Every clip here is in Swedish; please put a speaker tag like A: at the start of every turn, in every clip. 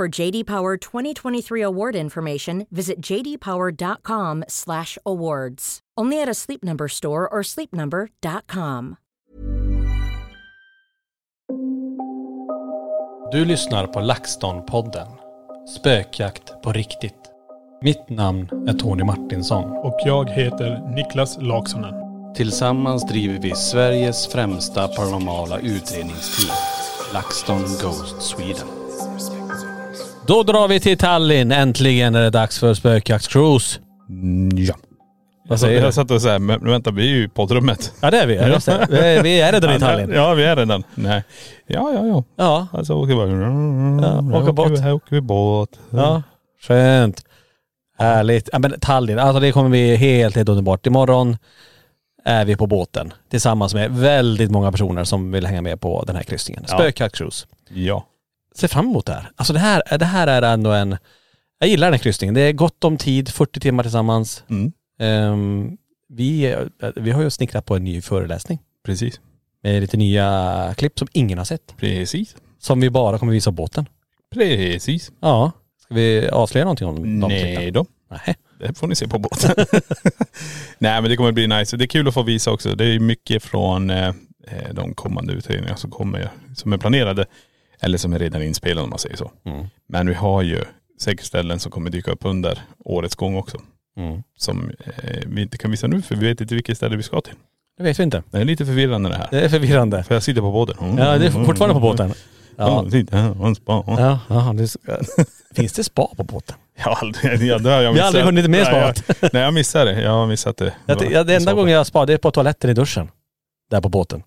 A: For JD Power 2023 award information, visit jdpower.com/awards. Only at a Sleep Number store or sleepnumber.com.
B: Du lyssnar på LaxTon-podden. Spökjakt på riktigt. Mitt namn är Tony Martinsson.
C: Och jag heter Niklas Laksonen.
B: Tillsammans driver vi Sveriges främsta paranormala utredningsteam. LaxTon Ghost Sweden. Då drar vi till Tallinn. Äntligen är det dags för spökjaktscruise.
C: Ja.
B: Vad
C: Så
B: säger du?
C: jag satt och såhär, men vänta vi är ju i poddrummet.
B: Ja det är vi. Ja, just det. Vi- Vi är redan i Tallinn.
C: Ja vi är redan. Nej. Ja ja ja.
B: Ja.
C: Alltså åker bara.
B: åker båt.
C: Här åker vi båt.
B: Ja. Skönt. Härligt. Ja, men Tallinn, alltså det kommer bli helt, helt underbart. Imorgon är vi på båten tillsammans med väldigt många personer som vill hänga med på den här kryssningen.
C: Ja.
B: Spökjakt cruise.
C: Ja.
B: Ser fram emot det här. Alltså det här, det här är ändå en... Jag gillar den här kryssningen. Det är gott om tid, 40 timmar tillsammans.
C: Mm.
B: Ehm, vi, eh, vi har ju snickrat på en ny föreläsning
C: Precis.
B: med lite nya klipp som ingen har sett.
C: Precis.
B: Som vi bara kommer visa på båten.
C: Precis.
B: Ja. Ska vi avslöja någonting om de
C: Nej
B: klippen?
C: då.
B: Nej.
C: Det får ni se på båten. Nej men det kommer bli nice. Det är kul att få visa också. Det är ju mycket från eh, eh, de kommande utredningar som kommer, som är planerade. Eller som är redan inspelade om man säger så.
B: Mm.
C: Men vi har ju säkert ställen som kommer dyka upp under årets gång också.
B: Mm.
C: Som eh, vi inte kan visa nu för vi vet inte vilket ställe vi ska till.
B: Det vet vi inte.
C: Det är lite förvirrande det här.
B: Det är förvirrande.
C: För jag sitter på båten. Mm.
B: Ja, det är fortfarande på båten.
C: Ja.
B: Ja.
C: sitter här och en spa. Ja.
B: Ja, ja, det ska... Finns det spa på båten?
C: Jag har aldrig, jag, det har jag
B: Vi har aldrig
C: missat.
B: hunnit med
C: Nej,
B: spat.
C: jag- Nej jag missade det. Jag har missat det.
B: Jag, jag, det enda gången jag spar, det är på toaletten i duschen. Där på båten.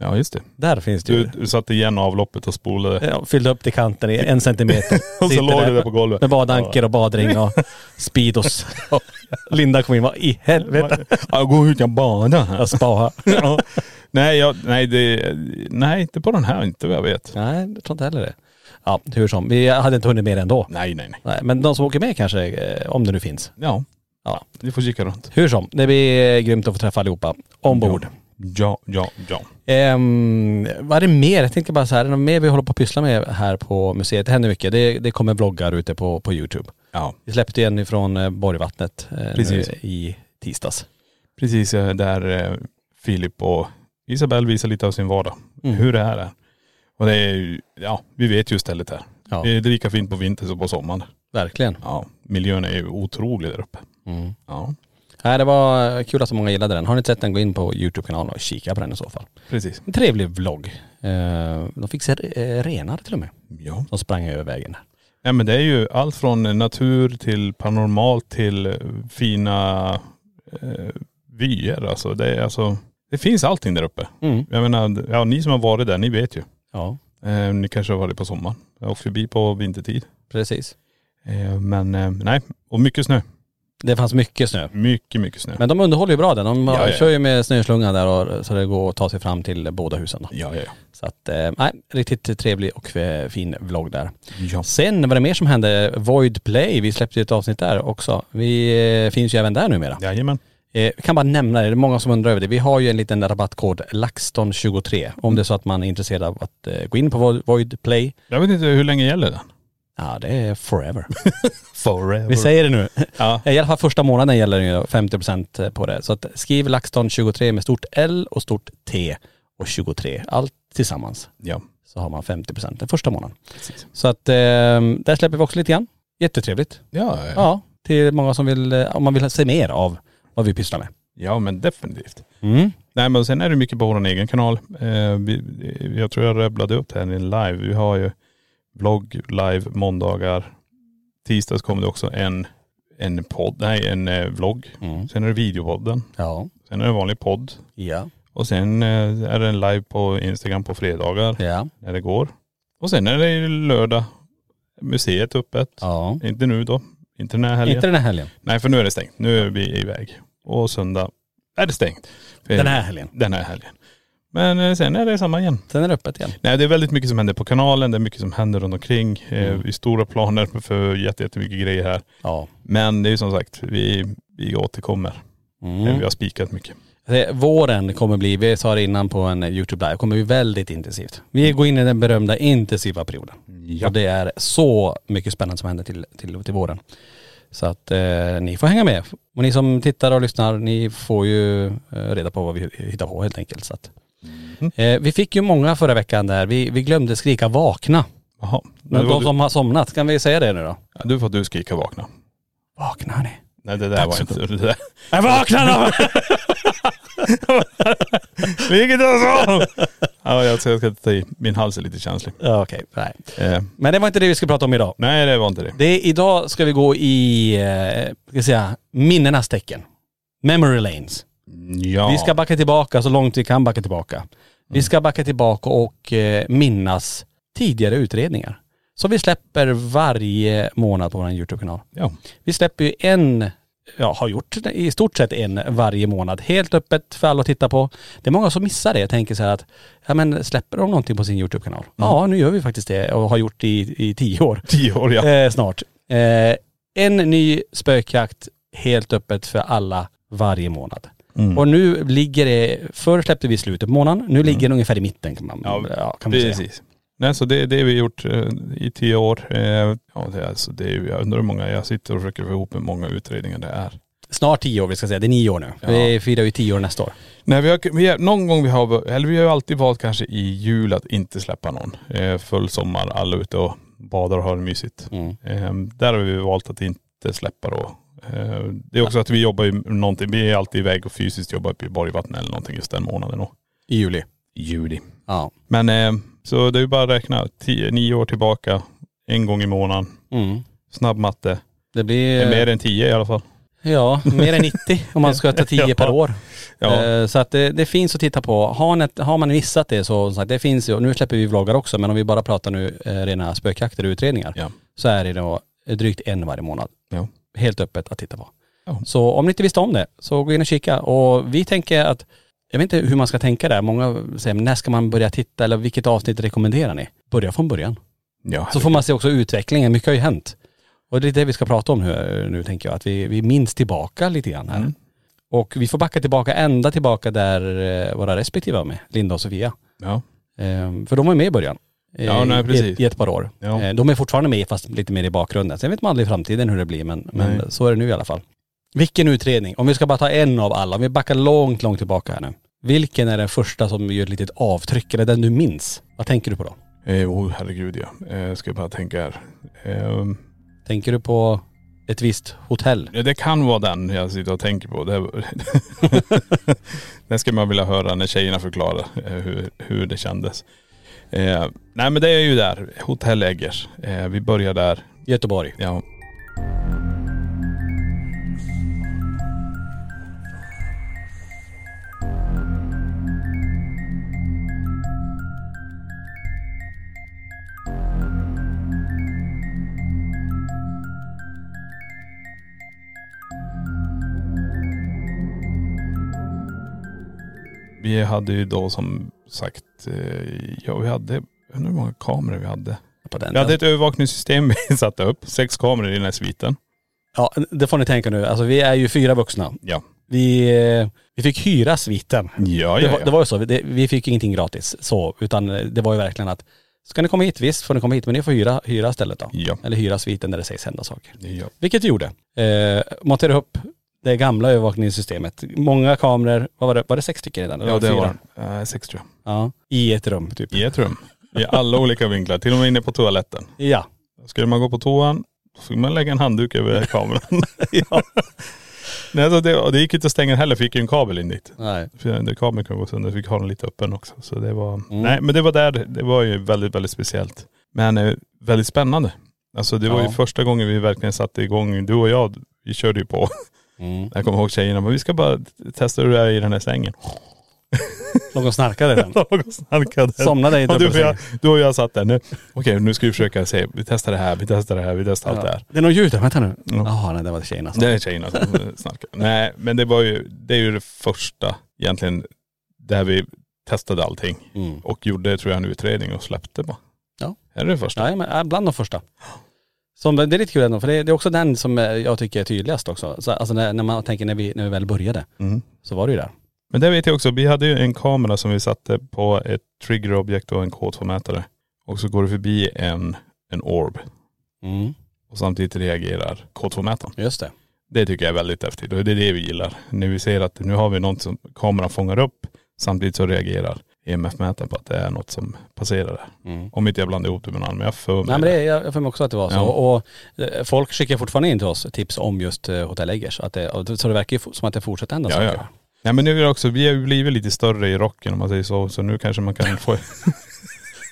C: Ja just det.
B: Där finns det
C: Du,
B: ju.
C: du satte igen avloppet och spolade.
B: Ja, fyllde upp till kanten i en centimeter.
C: Och så
B: Sitter
C: låg
B: där
C: du där på golvet.
B: Med badanker och badring och Speedos. Linda kom in vad i helvete.
C: Ja, gå ut och bada här.
B: Jag spar.
C: Ja. Nej, jag, nej, det, nej, inte på den här inte vad jag vet.
B: Nej, jag tror inte heller det. Ja, hur som. Vi hade inte hunnit med det ändå.
C: Nej, nej, nej.
B: Nej, men de som åker med kanske, eh, om det nu finns.
C: Ja,
B: Ja.
C: vi får kika runt.
B: Hur som, det blir grymt att få träffa allihopa ombord.
C: Ja, ja, ja.
B: Ehm, vad är det mer? Jag tänker bara så här, är det något mer vi håller på att pyssla med här på museet? Det händer mycket. Det, det kommer vloggar ute på, på Youtube.
C: Ja,
B: Vi släppte ju en ifrån eh, Borgvattnet eh, nu
C: Precis.
B: i tisdags.
C: precis eh, där eh, Filip och Isabel visar lite av sin vardag.
B: Mm.
C: Hur det här är. Och det är ju, ja, vi vet ju stället här.
B: Ja.
C: Det är lika fint på vintern som på sommaren.
B: Verkligen.
C: Ja, miljön är ju otrolig där uppe.
B: Mm.
C: Ja,
B: Nej, det var kul att så många gillade den. Har ni inte sett den, gå in på Youtube-kanalen och kika på den i så fall.
C: precis.
B: En trevlig vlogg. Eh, de fick se eh, renar till och med.
C: Ja.
B: De sprang över vägen där.
C: Nej men det är ju allt från natur till paranormalt till eh, fina eh, vyer. Alltså det, är, alltså det finns allting där uppe.
B: Mm.
C: Jag menar, ja, ni som har varit där, ni vet ju.
B: Ja,
C: Eh, ni kanske har varit på sommaren. Jag har åkt förbi på vintertid.
B: precis.
C: Eh, men eh, nej, och mycket snö.
B: Det fanns mycket snö.
C: Mycket, mycket snö.
B: Men de underhåller ju bra den. De
C: Ja, ja, ja.
B: kör ju med snöslungan där och, så det går att ta sig fram till båda husen då.
C: Ja, ja, ja.
B: Så att, eh, nej, riktigt trevlig och eh, fin vlogg där.
C: Ja.
B: Sen var det mer som hände, Void Play, vi släppte ju ett avsnitt där också. Vi eh, finns ju även där numera.
C: Jajamän.
B: Eh, jag kan bara nämna det, det är många som undrar över det. Vi har ju en liten rabattkod, LaxTon23,
C: Mm.
B: om det är så att man är intresserad av att eh, gå in på Void- Void Play.
C: Jag vet inte hur länge gäller den?
B: Ja, det är forever.
C: Forever.
B: Vi säger det nu.
C: Ja.
B: I alla fall första månaden gäller det ju 50% på det. Så att skriv LaxTon23 med stort L och stort T och 23. Allt tillsammans.
C: Ja.
B: Så har man 50% den första månaden.
C: Precis.
B: Så att eh, där släpper vi också lite grann. Jättetrevligt.
C: Ja, ja.
B: Ja, till många som vill, eh, om man vill se mer av vad vi pysslar med.
C: ja, men definitivt.
B: Mm.
C: Nej men sen är det mycket på vår egen kanal. Eh, vi, jag tror jag rabblade upp det här i en live. Vi har ju vlogg live måndagar. Tisdags kommer det också en, en podd, nej en eh, vlogg.
B: Mm.
C: Sen är det videopodden.
B: Ja.
C: Sen är det en vanlig podd.
B: Ja.
C: Och sen eh, är det en live på Instagram på fredagar
B: Ja.
C: när det går. Och sen är det ju lördag, museet öppet.
B: ja.
C: Inte nu då, inte den här helgen.
B: Inte den här helgen.
C: Nej för nu är det stängt, nu är vi iväg. Och söndag är det stängt. För-
B: Den här helgen.
C: Den här helgen. Men eh, sen är det samma igen.
B: Sen är det öppet igen.
C: Nej det är väldigt mycket som händer på kanalen, det är mycket som händer runt omkring. Eh,
B: Mm.
C: Vi har stora planer för jätte, jättemycket grejer här.
B: Ja.
C: Men det är ju som sagt, vi, vi återkommer.
B: Mm.
C: Vi har spikat mycket.
B: Det- Våren kommer bli, vi sa det innan på en YouTube live, kommer bli väldigt intensivt. Vi går in i den berömda intensiva perioden. Och det är så mycket spännande som händer till, till, till våren. Så att eh, ni får hänga med. Och ni som tittar och lyssnar, ni får ju eh, reda på vad vi hittar på helt enkelt. Så att.
C: Mm.
B: Eh, vi fick ju många förra veckan där, vi, vi glömde skrika vakna.
C: Jaha. Men
B: Men
C: det var
B: de
C: du,
B: som har somnat, kan vi säga det nu då?
C: ja, du får du skrika vakna.
B: Vakna ni.
C: Nej det där var inte det där.
B: Jag vaknar då!
C: Vilket jag sa! ja jag ska, jag ska ta i, min hals är lite känslig.
B: Ja, Okej, nej.
C: Eh,
B: Men det var inte det vi skulle prata om idag.
C: nej det var inte det.
B: Det är, idag ska vi gå i, eh, ska jag säga, minnenas tecken. Memory lanes.
C: Ja. Mm.
B: Vi ska backa tillbaka så långt vi kan backa tillbaka. Vi ska backa tillbaka och eh, minnas tidigare utredningar. Så vi släpper varje månad på vår YouTube-kanal.
C: Ja.
B: Vi släpper ju en, ja har gjort i stort sett en varje månad. Helt öppet för alla att titta på. Det är många som missar det. Jag tänker så här att, ja men släpper de någonting på sin YouTube-kanal?
C: Mm.
B: Ja nu gör vi faktiskt det och har gjort det i, i tio år
C: Tio år ja.
B: eh, snart. Eh, en ny spökjakt helt öppet för alla varje månad.
C: Mm.
B: Och nu ligger det, förr släppte vi i slutet på månaden, nu ligger den ungefär i mitten kan man, ja, kan man säga.
C: Precis. Nej, så det, det har vi gjort eh, i tio år. Eh, ja, det är, alltså, det är, ju- jag undrar hur många, jag sitter och försöker få ihop hur många utredningar det är.
B: Snart tio år vi ska säga, det är nio år nu. Vi firar ju tio år nästa år.
C: Nej, vi har, vi har, någon gång vi har, eller vi har ju alltid valt kanske i jul att inte släppa någon. Eh, full sommar, alla ute och badar och har det mysigt.
B: Mm.
C: Eh, där har vi valt att inte släppa då. Eh, det är också att vi jobbar ju någonting, vi är alltid iväg och fysiskt jobbar uppe i Borgvattnet eller någonting just den månaden och
B: I juli.
C: juli.
B: Ja.
C: Men eh, så det är ju bara att räkna tio, nio år tillbaka, en gång i månaden.
B: Mm.
C: Snabb matte.
B: Det blir,
C: Det är mer än tio i alla fall.
B: ja, mer än 90 om man ska ta 10
C: Ja.
B: per år.
C: Ja.
B: Eh, Så att det, det finns att titta på. Har, ni, har man missat det så, som sagt, det finns ju, nu släpper vi vloggar också, men om vi bara pratar nu eh, rena spökjakter och utredningar.
C: Ja.
B: så är det då drygt en varje månad.
C: Ja.
B: Helt öppet att titta på.
C: Ja.
B: Så om ni inte visste om det, så gå in och kika. Och vi tänker att, jag vet inte hur man ska tänka där. Många säger, "Men när ska man börja titta eller vilket avsnitt rekommenderar ni? Börja från början.
C: ja.
B: Så får man se också utvecklingen, mycket har ju hänt. Och det är det vi ska prata om nu, nu tänker jag, att vi, vi minns tillbaka lite grann här.
C: Mm.
B: Och vi får backa tillbaka, ända tillbaka där eh, våra respektive var med, Linda och Sofia.
C: Ja.
B: Ehm, För de var med i början. eh,
C: Ja, nej,
B: i-
C: precis.
B: I, ett, I ett par år.
C: Ja.
B: Eh, De är fortfarande med fast lite mer i bakgrunden. Sen vet man aldrig i framtiden hur det blir men,
C: Nej.
B: men så är det nu i alla fall. Vilken utredning, om vi ska bara ta en av alla, om vi backar långt, långt tillbaka här nu. Vilken är den första som gör ett litet avtryck eller den du minns? Vad tänker du på då?
C: Eh, oh herregud ja. Eh, ska jag bara tänka här. Eh,
B: Tänker du på ett visst hotell?
C: ja, det kan vara den jag sitter och tänker på. Det, den ska man vilja höra när tjejerna förklarar eh, hur, hur det kändes. Eh, nej men det är ju där. Hotell Eggers. Eh, vi börjar där.
B: Göteborg.
C: Ja. Vi hade ju då som sagt, eh, ja vi hade, jag undrar hur många kameror vi hade.
B: På den.
C: Vi hade ett övervakningssystem vi satte upp, sex kameror i den här sviten.
B: Ja, det får ni tänka nu. Alltså vi är ju fyra vuxna.
C: Ja.
B: Vi, eh, vi fick hyra sviten.
C: Ja,
B: Det
C: ja,
B: var,
C: ja.
B: det var ju så, det, vi fick ingenting gratis så, utan eh, det var ju verkligen att ska ni komma hit, visst får ni komma hit, men ni får hyra, hyra stället då.
C: Ja.
B: Eller hyra sviten där det sägs hända saker.
C: ja.
B: Vilket det gjorde. Eh, monterade upp det gamla övervakningssystemet. Många kameror, vad var det, var det sex stycken redan? Eller
C: Ja det
B: fyra?
C: var eh, sex tror
B: Ja, i ett rum typ.
C: jag. I ett rum. I alla olika vinklar, till och med inne på toaletten.
B: Ja.
C: Skulle man gå på toan, så skulle man lägga en handduk över kameran. Nej, alltså det, och det gick inte att stänga heller, fick ju en kabel in dit.
B: Nej.
C: För den kabeln kunde gå sönder, fick ha den lite öppen också. Så det var, nej men det var där, det var ju väldigt, väldigt speciellt. Men eh, väldigt spännande. Alltså det var
B: Ja.
C: ju första gången vi verkligen satte igång, du och jag, vi körde ju på.
B: Mm.
C: Jag kommer ihåg tjejerna, men vi ska bara testa hur det är i den här sängen.
B: Någon snarkade den.
C: De låg och snarkade.
B: Somnade i
C: Ja, du, och jag,
B: dubbelsängen.
C: du och jag satt där nu. Okej, nu ska vi försöka se, vi testar det här, vi testar det här, vi testar allt det här.
B: Det är något ljud där, vänta nu.
C: Ja.
B: Jaha, nej det var tjejerna som.
C: Det är tjejerna som snarkar. Nej, men det var ju, det är ju det första egentligen där vi testade allting.
B: Mm.
C: Och gjorde, tror jag, en utredning och släppte bara.
B: Ja.
C: Det är det första.
B: Nej, men eh, bland de första. Som, det är lite kul ändå, för det, det är också den som eh, jag tycker är tydligast också. Så, alltså när, när man tänker när vi, när vi väl började,
C: Mm.
B: så var det ju där.
C: Men det vet jag också, vi hade ju en kamera som vi satte på ett triggerobjekt och en K2-mätare. Och så går det förbi en, en orb
B: Mm.
C: och samtidigt reagerar K2-mätaren.
B: Just det.
C: Det tycker jag är väldigt häftigt och det är det vi gillar. När vi ser att nu har vi något som kameran fångar upp samtidigt så reagerar EMF-mätaren på att det är något som passerar där. Om inte jag blandar ihop det med någon annan, men jag för mig
B: Mm. Nej men det, jag jag får mig också att det var så.
C: Ja.
B: Och eh, folk skickar fortfarande in till oss tips om just eh, Hotel Eggers. Att det, och det- så det verkar ju fo- som att det fortsätter hända
C: Ja,
B: saker.
C: ja. Nej men nu är det också, vi har ju blivit lite större i rocken om man säger så, så nu kanske man kan få..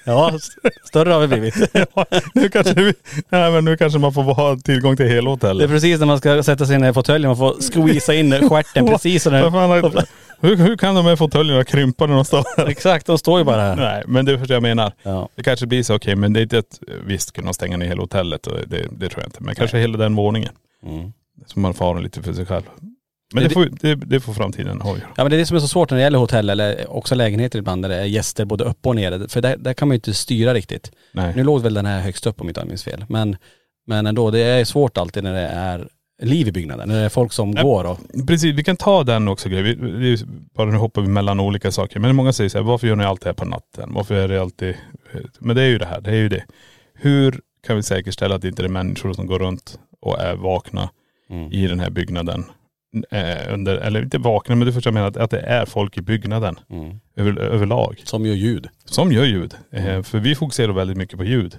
B: ja, s- större har vi blivit.
C: ja, nu, kanske vi, nej, men nu kanske man får ha tillgång till hela
B: Det är
C: hotellet.
B: precis när man ska sätta sig ner i fåtöljen, man får squeeza in stjärten precis så
C: Vad
B: den,
C: fan har- hur, hur kan de här fåtöljerna krympa när de står här?
B: Exakt, de står ju bara här.
C: Nej men det är förstår jag menar.
B: Ja.
C: Det kanske blir så, okej men det är inte ett, visst kunna stänga ner hela hotellet, och det, det tror jag inte. Men kanske hela den våningen.
B: mm.
C: Så man får ha den lite för sig själv. Men det,
B: Det-
C: får, ju- det, det får framtiden avgöra.
B: Ja men det är det som är så svårt när det gäller hotell eller också lägenheter ibland när det är gäster både upp och ner. För där, där kan man ju inte styra riktigt.
C: Nej.
B: Nu låg väl den här högst upp om inte jag minns fel. Men, men ändå, det är svårt alltid när det är liv i byggnaden. När det är folk som går och..
C: Precis, vi kan ta den också grej. Vi, vi, bara nu hoppar vi mellan olika saker. Men många säger så här, varför gör ni allt det här på natten? Varför är det alltid.. eh, Men det är ju det här, det är ju det. Hur kan vi säkerställa att det inte är människor som går runt och är vakna i den här byggnaden? Eh, under, eller inte vakna, men du förstår vad jag menar, att, att det är folk i byggnaden över, överlag.
B: Som gör ljud.
C: Som gör ljud. Eh, för vi fokuserar väldigt mycket på ljud.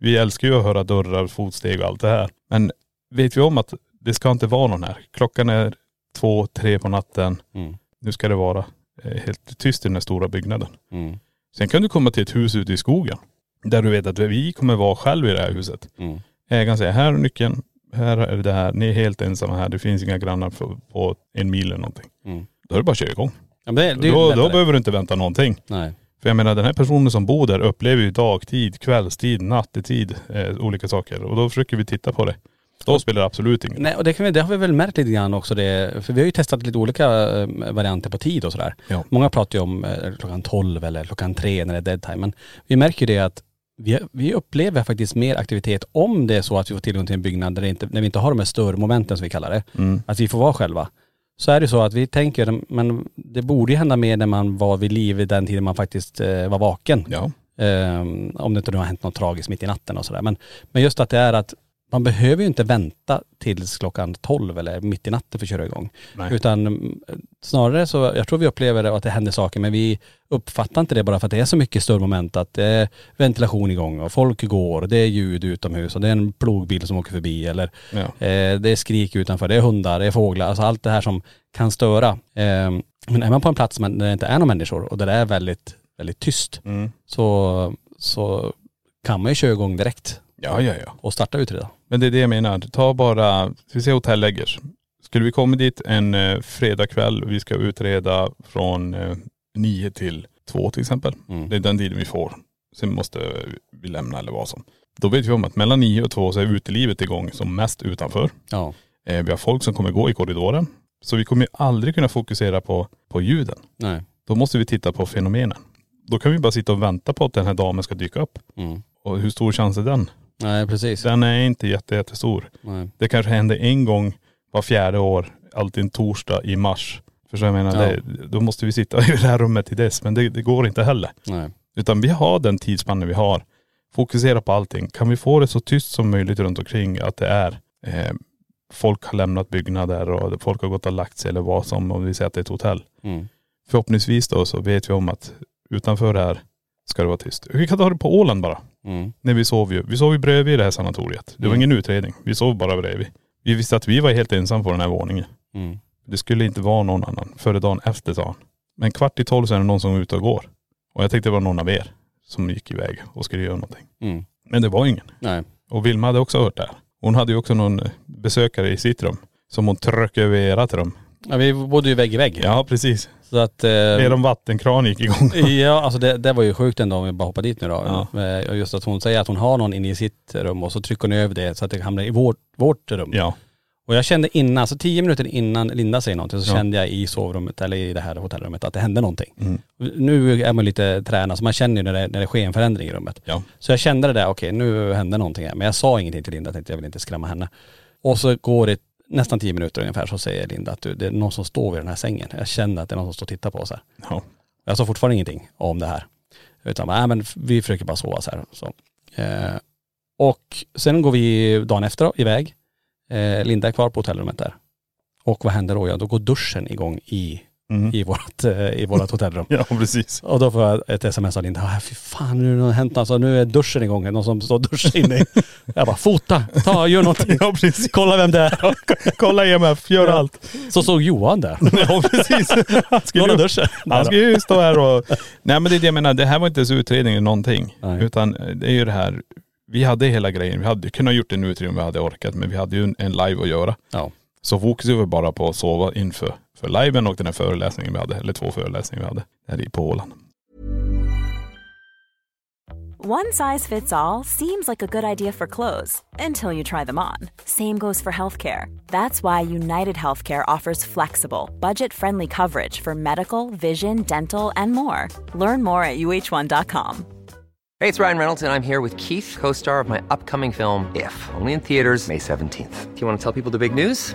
C: Vi älskar ju att höra dörrar, fotsteg och allt det här. Men vet vi om att det ska inte vara någon här. Klockan är två, tre på natten.
B: Mm.
C: Nu ska det vara eh, helt tyst i den här stora byggnaden. Sen kan du komma till ett hus ute i skogen. Där du vet att vi kommer vara själv i det här huset.
B: Mm.
C: Ägaren säger, här är nyckeln, här är det här, ni är helt ensamma här, det finns inga grannar på, på en mil eller någonting.
B: Mm.
C: Då är det bara att köra igång.
B: Ja, men det, det är ju
C: då, då
B: lättare.
C: behöver du inte vänta någonting.
B: Nej.
C: För jag menar den här personen som bor där upplever ju dagtid, kvällstid, nattetid, eh, olika saker. Och då försöker vi titta på det. Då spelar det absolut ingen roll.
B: Nej och det, kan vi, det har vi väl märkt lite grann också det, för vi har ju testat lite olika eh, varianter på tid och sådär.
C: Ja.
B: Många pratar ju om eh, klockan 12 eller klockan 3 när det är dead time. Men vi märker ju det att vi, vi upplever faktiskt mer aktivitet om det är så att vi får tillgång till en byggnad där det inte, när vi inte har de här störmomenten som vi kallar det.
C: Mm.
B: Att vi får vara själva. Så är det så att vi tänker, men det borde ju hända mer när man var vid liv i den tiden man faktiskt eh, var vaken.
C: Ja.
B: Ehm, om det inte nu har hänt något tragiskt mitt i natten och sådär. Men, men just att det är att man behöver ju inte vänta tills klockan 12 eller mitt i natten för att köra igång.
C: Nej.
B: Utan mm, snarare så, jag tror vi upplever det och att det händer saker men vi uppfattar inte det bara för att det är så mycket större moment att det är ventilation igång och folk går, det är ljud utomhus och det är en plogbil som åker förbi eller
C: Ja.
B: Eh, det är skrik utanför, det är hundar, det är fåglar, alltså allt det här som kan störa. Eh, men är man på en plats men- där det inte är några människor och där det är väldigt, väldigt tyst
C: Mm.
B: så, så kan man ju köra igång direkt
C: ja, ja, ja.
B: och starta utreda.
C: Men det är det jag menar. Ta bara, ska vi säger Hotell Eggers. Skulle vi komma dit en eh, fredagkväll och vi ska utreda från eh, nio till två till exempel. Det är den tiden vi får. Sen måste vi lämna eller vad som. Då vet vi om att mellan nio och två så är utelivet igång som mest utanför.
B: Ja.
C: Eh, Vi har folk som kommer gå i korridoren. Så vi kommer ju aldrig kunna fokusera på, på ljuden.
B: Nej.
C: Då måste vi titta på fenomenen. Då kan vi bara sitta och vänta på att den här damen ska dyka upp.
B: Mm.
C: Och hur stor chans är den?
B: Nej precis.
C: Den är inte jätte, jättestor.
B: Nej.
C: Det kanske händer en gång var fjärde år, alltid en torsdag i mars. Förstår du vad jag menar?
B: Ja.
C: Det, då måste vi sitta i det här rummet till dess. Men det, det går inte heller.
B: Nej.
C: Utan vi har den tidsspannen vi har. Fokusera på allting. Kan vi få det så tyst som möjligt runt omkring att det är eh, folk har lämnat byggnader och folk har gått och lagt sig eller vad som, om vi säger att det är ett hotell.
B: Mm.
C: Förhoppningsvis då så vet vi om att utanför det här ska det vara tyst. Vi kan ta det på Åland bara.
B: Mm.
C: Nej vi sov ju. Vi sov ju bredvid i det här sanatoriet. Det var
B: Mm.
C: ingen utredning. Vi sov bara bredvid. Vi visste att vi var helt ensamma på den här våningen.
B: Mm.
C: Det skulle inte vara någon annan före dagen efter sa han. Men kvart i tolv så är det någon som är ute och går. Och jag tänkte det var någon av er som gick iväg och skulle göra någonting.
B: Mm.
C: Men det var ingen.
B: Nej.
C: Och Vilma hade också hört det här. Hon hade ju också någon eh, besökare i sitt rum. Som hon tryckte över ert rum.
B: Ja, vi bodde ju vägg i vägg.
C: Ja precis.
B: Så att.. Eh,
C: Er om vattenkran gick igång.
B: Ja alltså det, det var ju sjukt ändå om vi bara hoppar dit nu då.
C: Ja.
B: Eh, och Just att hon säger att hon har någon inne i sitt rum och så trycker hon över det så att det hamnar i vårt, vårt rum.
C: Ja.
B: Och jag kände innan, så tio minuter innan Linda säger någonting så
C: Ja.
B: kände jag i sovrummet eller i det här hotellrummet att det hände någonting.
C: Mm.
B: Nu är man lite tränad så man känner ju när det, när det sker en förändring i rummet.
C: Ja.
B: Så jag kände det där, okej nu hände någonting här. Men jag sa ingenting till Linda, jag tänkte jag vill inte skrämma henne. Och så går det nästan tio minuter ungefär så säger Linda att du, det är någon som står vid den här sängen. Jag känner att det är någon som står och tittar på oss här.
C: ja.
B: Jag sa fortfarande ingenting om det här. Utan nej, men vi försöker bara sova så här. Så. Eh, och sen går vi dagen efter iväg. Eh, Linda är kvar på hotellrummet där. Och vad händer då? Ja, då går duschen igång i,
C: Mm.
B: i vårt, eh, i vårt hotellrum.
C: Ja precis.
B: Och då får jag ett sms av Linda. "Ah, Fy fan, nu har det hänt alltså. Nu är duschen igång. Det är Någon som står och duschar inne. i." Jag bara, fota, ta, gör någonting.
C: Ja precis.
B: Kolla vem det är.
C: Kolla EMF, gör
B: Ja.
C: allt.
B: Så såg Johan där.
C: Ja precis.
B: Skulle
C: ju-
B: duschen.
C: Han ska ju stå här och.. Nej men det är det jag menar, det här var inte ens utredning eller någonting.
B: Nej.
C: Utan eh, det är ju det här, vi hade hela grejen, vi hade kunnat gjort en utredning om vi hade orkat men vi hade ju en, en live att göra.
B: Ja.
C: Så fokus var bara på att sova inför för liven och den här föreläsningen vi hade, eller två föreläsningar vi hade, här i på Åland.
D: One size fits all seems like a good idea for clothes until you try them on. Same goes for healthcare. That's why United Healthcare offers flexible, budget friendly coverage for medical, vision, dental, and more. Learn more at uh1.com.
E: Hey, it's Ryan Reynolds, and I'm here with Keith, co star of my upcoming film, If, only in theaters, May 17th. Do you want to tell people the big news?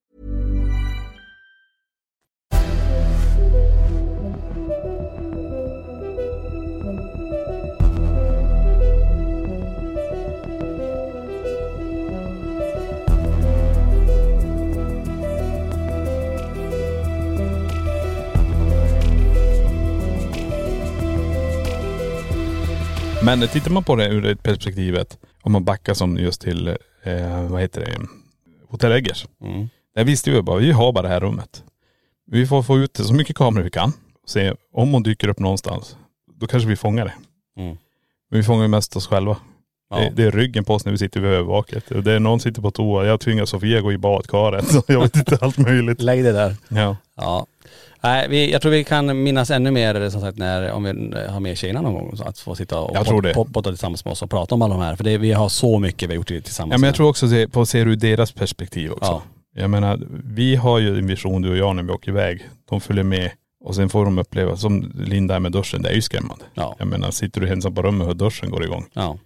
C: Men eh, tittar man på det ur det perspektivet, om man backar som just till, eh, vad heter det, Hotell Eggers.
B: Mm.
C: Där visste vi bara, vi har bara det här rummet. Vi får få ut så mycket kameror vi kan. Se om hon dyker upp någonstans, då kanske vi fångar det.
B: Mm.
C: Men vi fångar ju mest oss själva.
B: Ja.
C: Det, det är ryggen på oss när vi sitter vid övervaket. Och Det är någon sitter på toa, jag tvingar Sofia gå i badkaret. Jag vet inte allt möjligt.
B: Lägg det där.
C: Ja.
B: Ja. Nej, vi, jag tror vi kan minnas ännu mer som sagt när, om vi har med tjejerna någon gång, så att få sitta och
C: Jag tror det.
B: pot- potta tillsammans med oss och prata om alla de här. För det, vi har så mycket vi har gjort tillsammans.
C: Ja men jag
B: med.
C: tror också det, på att se det ur deras perspektiv också.
B: Ja.
C: Jag menar, vi har ju en vision du och jag när vi åker iväg. De följer med och sen får de uppleva, som Linda är med duschen, det är ju skrämmande.
B: Ja.
C: Jag menar, sitter du ensam på rummet och duschen går igång.
B: Ja.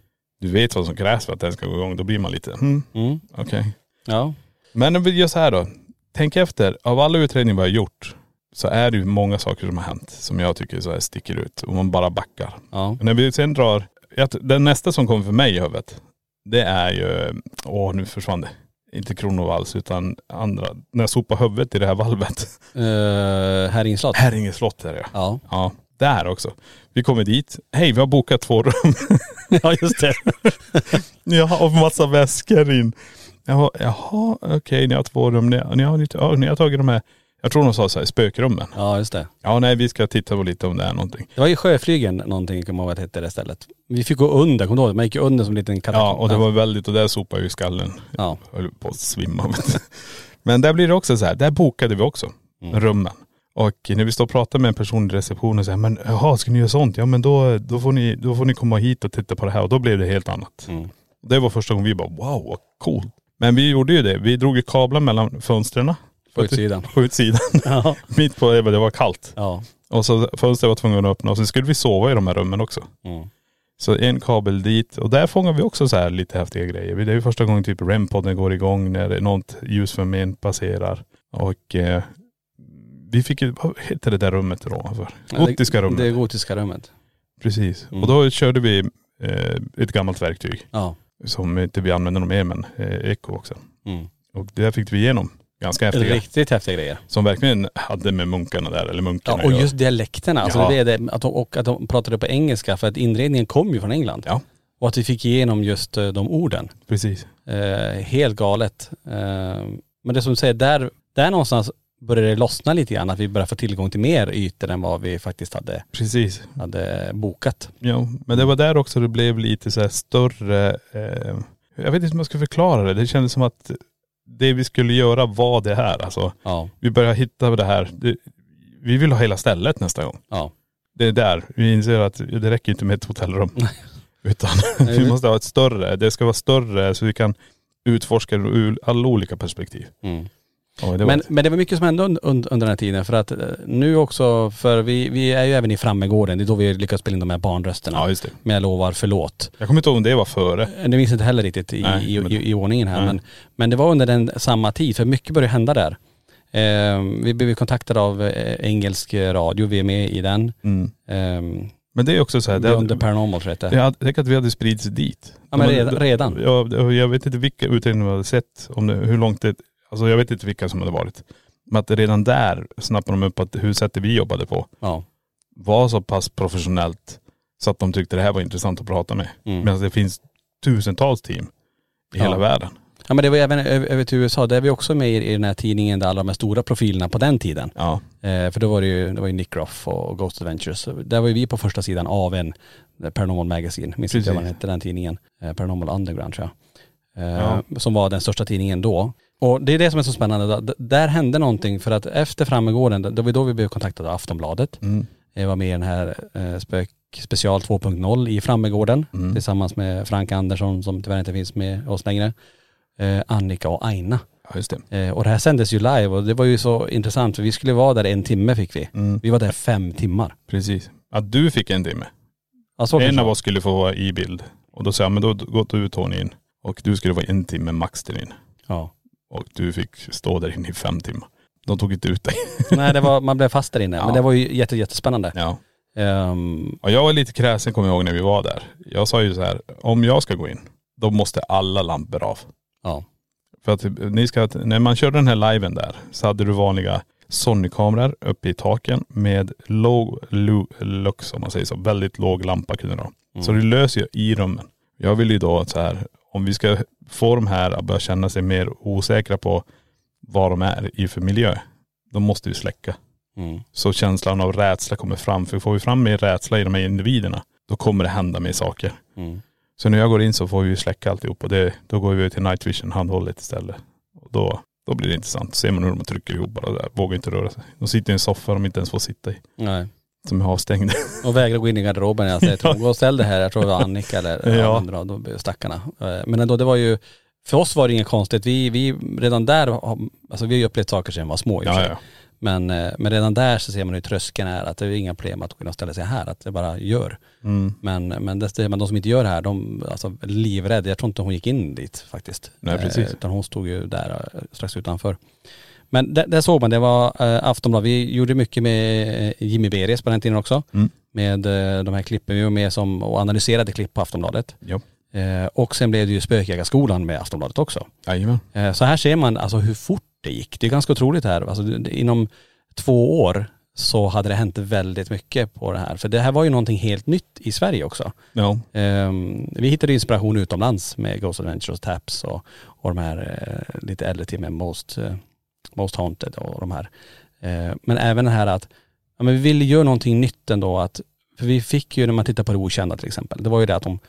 C: Du vet vad som krävs för att den ska gå igång, då blir man lite, hmm,
B: Mm.
C: okej.
B: Ja.
C: Men om vi gör så här då. Tänk efter, av alla utredningar vi har gjort så är det ju många saker som har hänt som jag tycker så här sticker ut. Om man bara backar.
B: Ja.
C: När vi sen drar, jag- den nästa som kommer för mig i huvudet, det är ju, åh nu försvann det. Inte Kronovalls utan andra, när jag sopar huvudet i det här valvet.
B: Uh, här inslott.
C: Häringe slott är det ja.
B: Ja.
C: Ja, där också. Vi kommer dit, hej vi har bokat två rum.
B: ja just det.
C: Jag har massa väskor in. Jag var, jaha okej ni har två rum, ni, ni, har, lite- ja, ni har tagit de här, jag tror de sa så här, spökrummen.
B: Ja just det.
C: Ja nej vi ska titta på lite om det är någonting.
B: Det var ju Sjöflygen någonting, kommer jag ihåg att det hette det stället. Vi fick gå under, kommer du ihåg? Man gick ju under som en liten
C: Ja och det
B: katakomb.
C: var väldigt, och där sopade ju skallen.
B: Ja.
C: höll på att svimma. vet du. Men där blir det också så här, där bokade vi också
B: Mm.
C: rummen. Och när vi står och pratar med en person i receptionen så här, men jaha, ska ni göra sånt? Ja men då, då, får ni, då får ni komma hit och titta på det här och då blev det helt annat.
B: Mm.
C: Det var första gången vi bara, wow vad coolt. Men vi gjorde ju det, vi drog ju kablar mellan fönstren.
B: På utsidan.
C: På utsidan.
B: Ja.
C: Mitt på, det var det var kallt.
B: Ja.
C: Och så fönstret var tvungna att öppna och sen skulle vi sova i de här rummen också.
B: Mm.
C: Så en kabel dit och där fångar vi också så här lite häftiga grejer. Det är ju första gången typ REM-podden går igång när det är något ljusfenomen passerar. Och eh, vi fick ju, vad hette det där rummet då? För? Gotiska rummet.
B: Det gotiska rummet.
C: Precis.
B: Mm.
C: Och då körde vi eh, ett gammalt verktyg
B: Ja.
C: som inte vi använder något mer men eh, ekoboxen.
B: Mm.
C: Och det där fick vi igenom ganska häftiga.
B: Riktigt häftiga grejer.
C: Som verkligen hade med munkarna där eller munkarna
B: Ja, och
C: att göra.
B: just dialekterna. Alltså
C: Ja.
B: det är det, att de, och att de pratade på engelska för att inredningen kom ju från England.
C: Ja.
B: Och att vi fick igenom just eh, de orden.
C: Precis.
B: Eh, helt galet. Eh, men det som du säger, där, där någonstans började det lossna lite grann. Att vi började få tillgång till mer ytor än vad vi faktiskt hade,
C: Precis.
B: hade bokat.
C: Ja, men det var där också det blev lite så här större, eh, jag vet inte hur man ska förklara det. Det kändes som att det vi skulle göra var det här. Alltså,
B: Ja.
C: vi börjar hitta det här. Det, vi vill ha hela stället nästa gång.
B: Ja.
C: Det är där. Vi inser att det räcker inte med ett hotellrum. Utan vi måste ha ett större. Det ska vara större så vi kan utforska det ur alla olika perspektiv.
B: Mm.
C: Ja, det var
B: men,
C: ett-
B: men det var mycket som hände under, under, under den här tiden. För att eh, nu också, för vi, vi är ju även i Frammegården. Det är då vi lyckas spela in de här barnrösterna.
C: ja just det.
B: Men jag lovar, förlåt.
C: Jag kommer inte ihåg om det var före.
B: Eh, Det minns inte heller riktigt i,
C: Nej,
B: i,
C: men-
B: i, i ordningen här.
C: Nej.
B: Men, men det var under den samma tid, för mycket började hända där. Eh, vi blev kontaktade av eh, engelsk radio, vi är med i den.
C: Mm.
B: Eh,
C: Men det är också så här.
B: Beyond
C: Det,
B: the Paranormal tror jag det
C: Det
B: hette.
C: hade, tänk att vi hade spridits dit.
B: Ja, men redan- redan.
C: Ja, och jag vet inte vilka utredningar vi hade sett, om det, hur långt det, alltså jag vet inte vilka som hade varit. Men att redan där snappade de upp att huset vi jobbade på
B: Ja.
C: var så pass professionellt så att de tyckte det här var intressant att prata med.
B: Mm.
C: Medan det finns tusentals team i
B: Ja.
C: hela världen.
B: ja men det var även över, över till USA, där är vi också med i, i den här tidningen där alla de här stora profilerna på den tiden.
C: Ja.
B: Eh, för då var det ju, det var ju Nick Ruff och Ghost Adventures. Så Där var ju vi på första sidan av en eh, Paranormal Magazine, minns inte
C: Precis.
B: vad den hette den tidningen. Eh, Paranormal Underground tror jag. Eh,
C: Ja.
B: Som var den största tidningen då. Och det är det som är så spännande. D- där hände någonting för att efter Frammegården, det var ju då vi blev kontaktade av Aftonbladet.
C: Mm.
B: Jag var med i den här eh, Spök special 2.0 i Frammegården
C: Mm.
B: tillsammans med Frank Andersson som tyvärr inte finns med oss längre. Eh, Annika och Aina.
C: ja, just det.
B: Eh, och det här sändes ju live och det var ju så intressant för vi skulle vara där en timme fick vi.
C: Mm.
B: Vi var där fem timmar.
C: Precis. Att du fick en timme.
B: Ja, så
C: en
B: kanske.
C: av oss skulle få vara i bild. Och då sa jag, men då går du ut Tony in. Och du skulle vara en timme max till in.
B: Ja.
C: Och du fick stå där inne i fem timmar. De tog inte ut dig.
B: Nej det var, man blev fast där inne.
C: Ja.
B: Men det var ju jätte, jättespännande.
C: Ja.
B: Ehm,
C: Och jag var lite kräsen kommer jag ihåg när vi var där. Jag sa ju så här, om jag ska gå in, då måste alla lampor av.
B: ja.
C: För att ni ska, när man körde den här liven där så hade du vanliga Sony-kameror uppe i taken med low lu, lux om man säger så. Väldigt låg lampa kunde du ha. Så det löser ju i rummen. Jag vill ju då att så här, om vi ska få de här att börja känna sig mer osäkra på vad de är i för miljö, då måste vi släcka.
B: Mm.
C: Så känslan av rädsla kommer fram. För får vi fram mer rädsla i de här individerna, då kommer det hända mer saker.
B: Mm.
C: Så när jag går in så får vi ju släcka alltihop och det, då går vi ut till night vision handhållet istället. Och då, då blir det intressant. Ser man hur de trycker ihop bara där. Vågar inte röra sig. De sitter i en soffa de inte ens får sitta i.
B: Nej.
C: Som är avstängd.
B: Och vägrade gå in i garderoben. Jag säger, gå och ställ det här. Jag tror det var Annika eller
C: Ja.
B: andra av de stackarna. Eh, Men ändå, det var ju, för oss var det inget konstigt. Vi, vi redan där, har- alltså vi har ju upplevt saker sedan vi var små i och för
C: ja,
B: sig.
C: ja.
B: Men, eh, men redan där så ser man hur tröskeln är, att det är inga problem att kunna ställa sig här, att det bara gör.
C: Mm.
B: Men, men, det, men de som inte gör det här, de alltså livrädda, jag tror inte hon gick in dit faktiskt.
C: Nej, precis.
B: Eh, Utan hon stod ju där eh, strax utanför. Men där, där såg man, det var eh, Aftonbladet, vi gjorde mycket med eh, Jimmy Beres på den tiden också.
C: Mm.
B: Med eh, de här klippen, vi var med som, och analyserade klipp på Aftonbladet.
C: Ja.
B: Eh, och sen blev det ju Spökjägarskolan med Aftonbladet också.
C: Jajamän.
B: Eh, Så här ser man alltså hur fort det gick. Det är ganska otroligt här. Alltså, det- det- inom två år så hade det hänt väldigt mycket på det här. För det här var ju någonting helt nytt i Sverige också.
C: Ja.
B: Ehm, vi hittade inspiration utomlands med Ghost Adventures, Taps och, och de här eh, lite äldre till med Most, eh, Most Ehm, Haunted och de här. Eh, men även det här att ja, men vi ville göra någonting nytt ändå, att För vi fick ju när man tittar på det okända till exempel, det var ju det att de,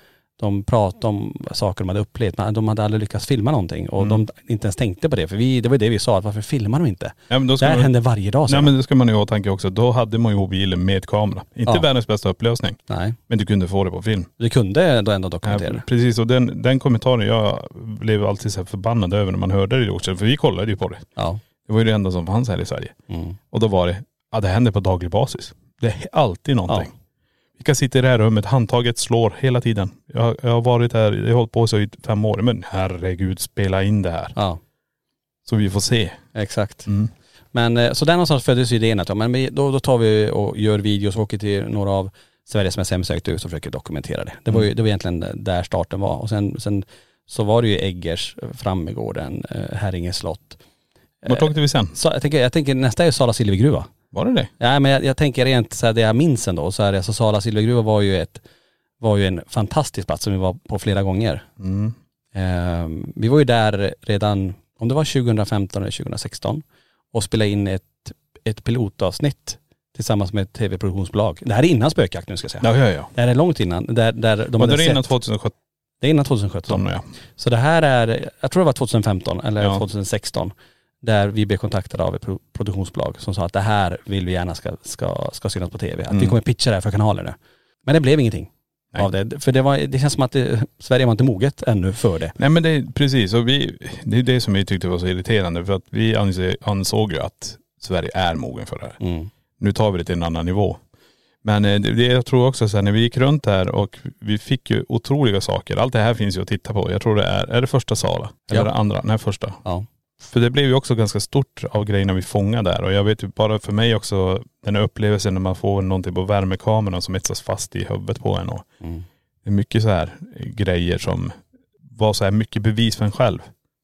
B: de pratade om saker de hade upplevt, men de hade aldrig lyckats filma någonting och
C: Mm.
B: de inte ens tänkte på det. För vi, det var ju det vi sa, att varför filmar de inte?
C: Ja, men då
B: det
C: ska
B: här
C: man-
B: händer varje dag. sa
C: Nej
B: de.
C: men det ska man ju ha i åtanke också. Då hade man ju mobilen med kamera. Inte
B: Ja.
C: världens bästa upplösning,
B: Nej,
C: men du kunde få det på film.
B: du kunde då ändå
C: Ja,
B: dokumentera det.
C: precis, och den, den kommentaren jag blev alltid så här förbannad över när man hörde det i Yorkshire, för vi kollade ju på det.
B: Ja. mm.
C: Det var ju det enda som fanns här i Sverige. Och då var det, ja det händer på daglig basis. Det är alltid någonting. Vi kan sitta i det här rummet, handtaget slår hela tiden. Jag, jag har varit här, jag har hållit på så i fem år, men herregud spela in det här.
B: ja,
C: Så vi får se.
B: exakt. Men eh, så där någonstans föddes ju idén att ja, men vi- då, då tar vi och gör videos och åker till några av Sveriges mest hemsökta hus och försöker dokumentera det. Det var ju det var egentligen där starten var. Och sen, sen så var det ju Eggers, eh, Frammegården, eh, Herringe slott.
C: Vart
B: Eh.
C: åkte vi sen?
B: Så jag, tänker, jag tänker nästa är Sala silvergruva.
C: Var det det?
B: Nej men jag, jag tänker rent så här, det jag minns ändå, så är det, så Sala silvergruva var ju ett, var ju en fantastisk plats som vi var på flera gånger. Eh, vi var ju där redan, om det var 2015 eller 2016, och spelade in ett, ett pilotavsnitt tillsammans med ett tv-produktionsbolag. Det här är innan spökjakt nu ska jag säga.
C: Ja, ja, ja.
B: Det här är långt innan. Där, där de
C: Var
B: hade
C: det innan
B: sett-
C: 2017?
B: det är innan 2017.
C: Ja.
B: Så det här är, jag tror det var 2015 eller
C: Ja.
B: 2016, där vi blev kontaktade av ett pro- produktionsbolag som sa att det här vill vi gärna ska, ska, ska synas på tv. Att vi
C: Mm.
B: kommer pitcha det här för kanaler nu. Men det blev ingenting
C: Nej.
B: av det. För det, var, det känns som att det, Sverige var inte moget ännu för det.
C: Nej men det är precis, och vi, det är det som vi tyckte var så irriterande för att vi anse- ansåg ju att Sverige är mogen för det här.
B: Mm,
C: Nu tar vi det till en annan nivå. Men eh, det, det jag tror också så här, när vi gick runt här och vi fick ju otroliga saker. Allt det här finns ju att titta på. Jag tror det är, är det första Sala? Eller
B: Ja.
C: det andra? Nej första.
B: Ja.
C: För det blev ju också ganska stort av grejerna vi fångade där. Och jag vet ju bara för mig också den här upplevelsen när man får någonting på värmekameran som etsas fast i huvudet på en. Och
B: Mm.
C: Det är mycket så här grejer som var så här mycket bevis för en själv.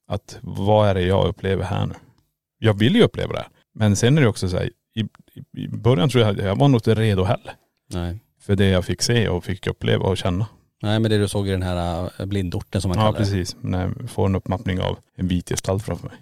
C: Att vad är det jag upplever här nu? Jag vill ju uppleva det här. Men sen är det också så här, i, i- i början tror jag jag var nog inte redo heller.
B: Nej.
C: För det jag fick se och fick uppleva och känna.
B: Nej men det du såg i den här äh, blindorten som man
C: Ja
B: kallar det.
C: precis. När jag får en uppmappning av en vit gestalt framför mig.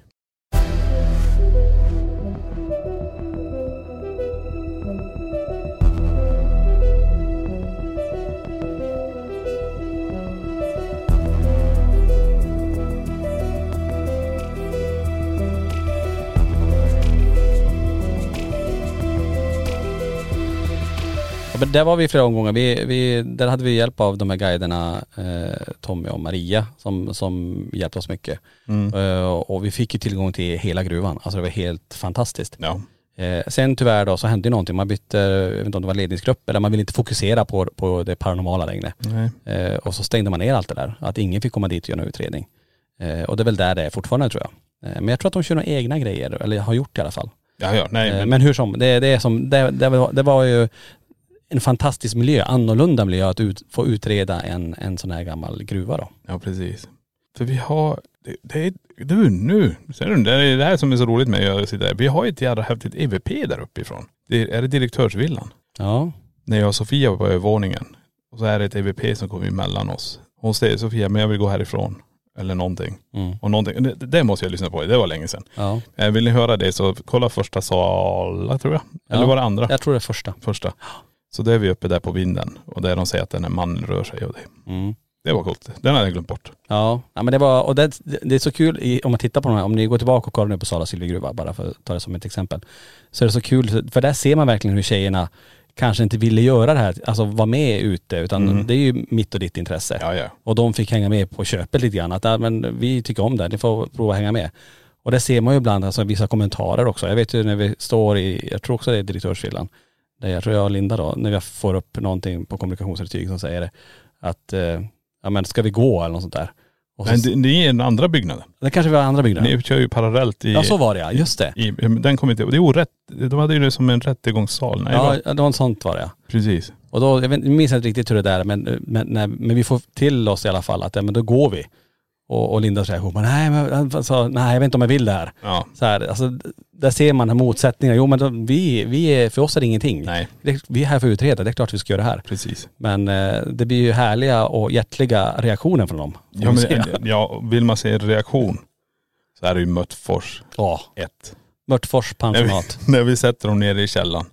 B: Ja, men där var vi flera omgångar. Vi, vi, där hade vi hjälp av de här guiderna eh, Tommy och Maria som, som hjälpte oss mycket.
C: Mm.
B: Eh, och vi fick ju tillgång till hela gruvan. Alltså det var helt fantastiskt.
C: Ja.
B: Eh, sen tyvärr då så hände ju någonting. Man bytte, jag vet inte om det var ledningsgrupp eller man ville inte fokusera på, på det paranormala längre.
C: Nej.
B: Eh, och så stängde man ner allt det där. Att ingen fick komma dit och göra någon utredning. Eh, och det är väl där det är fortfarande tror jag. Eh, men jag tror att de kör några egna grejer, eller har gjort i alla fall.
C: Ja, ja. Nej,
B: Eh, Men hur som, det, det, är som det, det, var, det var ju en fantastisk miljö, annorlunda miljö att ut, få utreda en, en sån här gammal gruva då.
C: Ja precis. För vi har, det, det är, du nu, ser du, det är det här som är så roligt med att sitta här. Vi har ju ett jädra häftigt EVP där uppifrån. Det är, är det direktörsvillan?
B: Ja.
C: När jag och Sofia var på övervåningen. Och så är det ett EVP som kommer emellan oss. Hon säger Sofia, men jag vill gå härifrån. Eller någonting.
B: Mm.
C: Och någonting, det, det måste jag lyssna på, det var länge sedan.
B: ja.
C: Eh, Vill ni höra det så kolla första Sala tror jag. Eller
B: Ja.
C: var det andra?
B: Jag tror det är första.
C: Första. Så då är vi uppe där på vinden. Och där de säger att den här mannen rör sig. Och det,
B: Mm.
C: det var coolt. Den hade jag glömt bort.
B: Ja. ja, men det var, och det, det är så kul i, om man tittar på de här, om ni går tillbaka och kollar nu på Sala silvergruva, bara för att ta det som ett exempel, så är det så kul, för där ser man verkligen hur tjejerna kanske inte ville göra det här, alltså vara med ute, utan det är ju mitt och ditt intresse.
C: Mm. Ja ja.
B: Och de fick hänga med på köpet lite grann. Att ja, men vi tycker om det, ni får prova att hänga med. Och det ser man ju ibland, alltså vissa kommentarer också. Jag vet ju när vi står i, jag tror också det är direktörsvillan, där jag tror jag och Linda då, när jag får upp någonting på kommunikationsintyg som säger det, att eh, ja men ska vi gå eller något sånt där. Och så,
C: Men det, det är den andra byggnaden.
B: det kanske vi har andra byggnader.
C: Ni kör ju parallellt i..
B: ja så var det ja, just det.
C: i den kommer inte.. Det är orätt.. De hade ju det som en rättegångssal. Nej,
B: Ja,
C: va?
B: ja, det var en sånt var det ja.
C: Precis.
B: Och då, jag, vet, jag minns inte riktigt hur det där är, men, men, nej, men vi får till oss i alla fall att ja, men då går vi. Och, och Linda säger, hon bara, nej, men, alltså, nej jag vet inte om jag vill det här.
C: Ja.
B: Så här, alltså, d- där ser man motsättningar. Jo men då, vi, vi är, för oss är det ingenting.
C: Nej.
B: Det, vi är här för att utreda, det är klart vi ska göra det här.
C: Precis.
B: Men eh, det blir ju härliga och hjärtliga reaktioner från dem. får
C: Ja,
B: vi se.
C: men, ja, vill man se en reaktion så är det ju Möttfors
B: ja.
C: 1.
B: Mörtfors
C: När vi,
B: pensionat.
C: när vi sätter dem nere i källaren.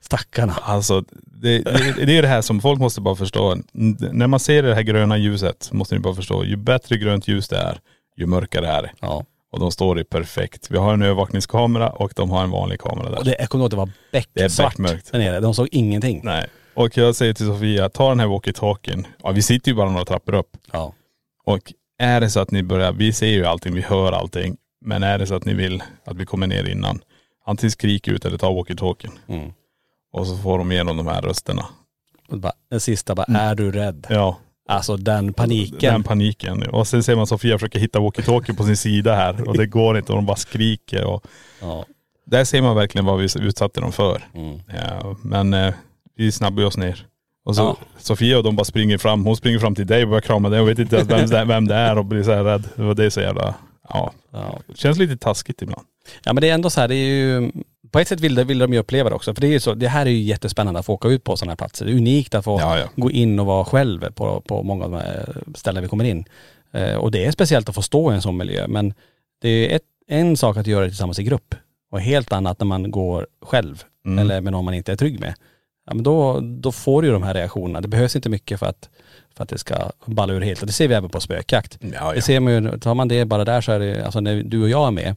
B: Stackarna.
C: Alltså det, det, det är det här som folk måste bara förstå. N- När man ser det här gröna ljuset måste ni bara förstå, ju bättre grönt ljus det är, ju mörkare är det.
B: Ja.
C: Och de står i perfekt. Vi har en övervakningskamera och de har en vanlig kamera där.
B: Och det, jag kommer ihåg att det var
C: Det är
B: becksvart
C: beckmörkt.
B: där nere. De såg ingenting.
C: Nej. Och jag säger till Sofia, ta den här walkie-talkien. Ja vi sitter ju bara några trappor upp.
B: Ja.
C: Och är det så att ni börjar, vi ser ju allting, vi hör allting. Men är det så att ni vill att vi kommer ner innan, antingen skrik ut eller ta walkie-talkien.
B: Mm.
C: Och så får de igenom de här rösterna.
B: Och bara, den sista bara, är du rädd?
C: Mm. Ja.
B: Alltså den paniken.
C: Den paniken. Och sen ser man Sofia försöka hitta walkie-talkie på sin sida här och det går inte och de bara skriker. Och
B: ja.
C: där ser man verkligen vad vi utsatte dem för.
B: Mm.
C: Ja, men eh, vi snabbar ju oss ner. Och så
B: Ja.
C: Sofia och de bara springer fram. Hon springer fram till dig och börjar krama dig. Hon vet inte ens vem, det- vem det är och blir så här rädd. Det var det så jävla.. Ja.
B: Ja.
C: Känns lite taskigt ibland.
B: ja men det är ändå så här, det är ju, på ett sätt vill, de- vill de ju uppleva det också. För det är ju så, det här är ju jättespännande att få åka ut på sådana här platser. Det är unikt att få
C: Ja, ja.
B: gå in och vara själv på, på många av de här ställen vi kommer in. Eh, och det är speciellt att få stå i en sån miljö. Men det är ju ett, en sak att göra det tillsammans i grupp och helt annat när man går själv
C: Mm.
B: eller med någon man inte är trygg med. Ja, men då, då får du ju de här reaktionerna. Det behövs inte mycket för att, för att det ska balla ur helt. Och det ser vi även på spökjakt.
C: Ja,
B: Det ser man ju, tar man det bara där så är det, alltså när du och jag är med.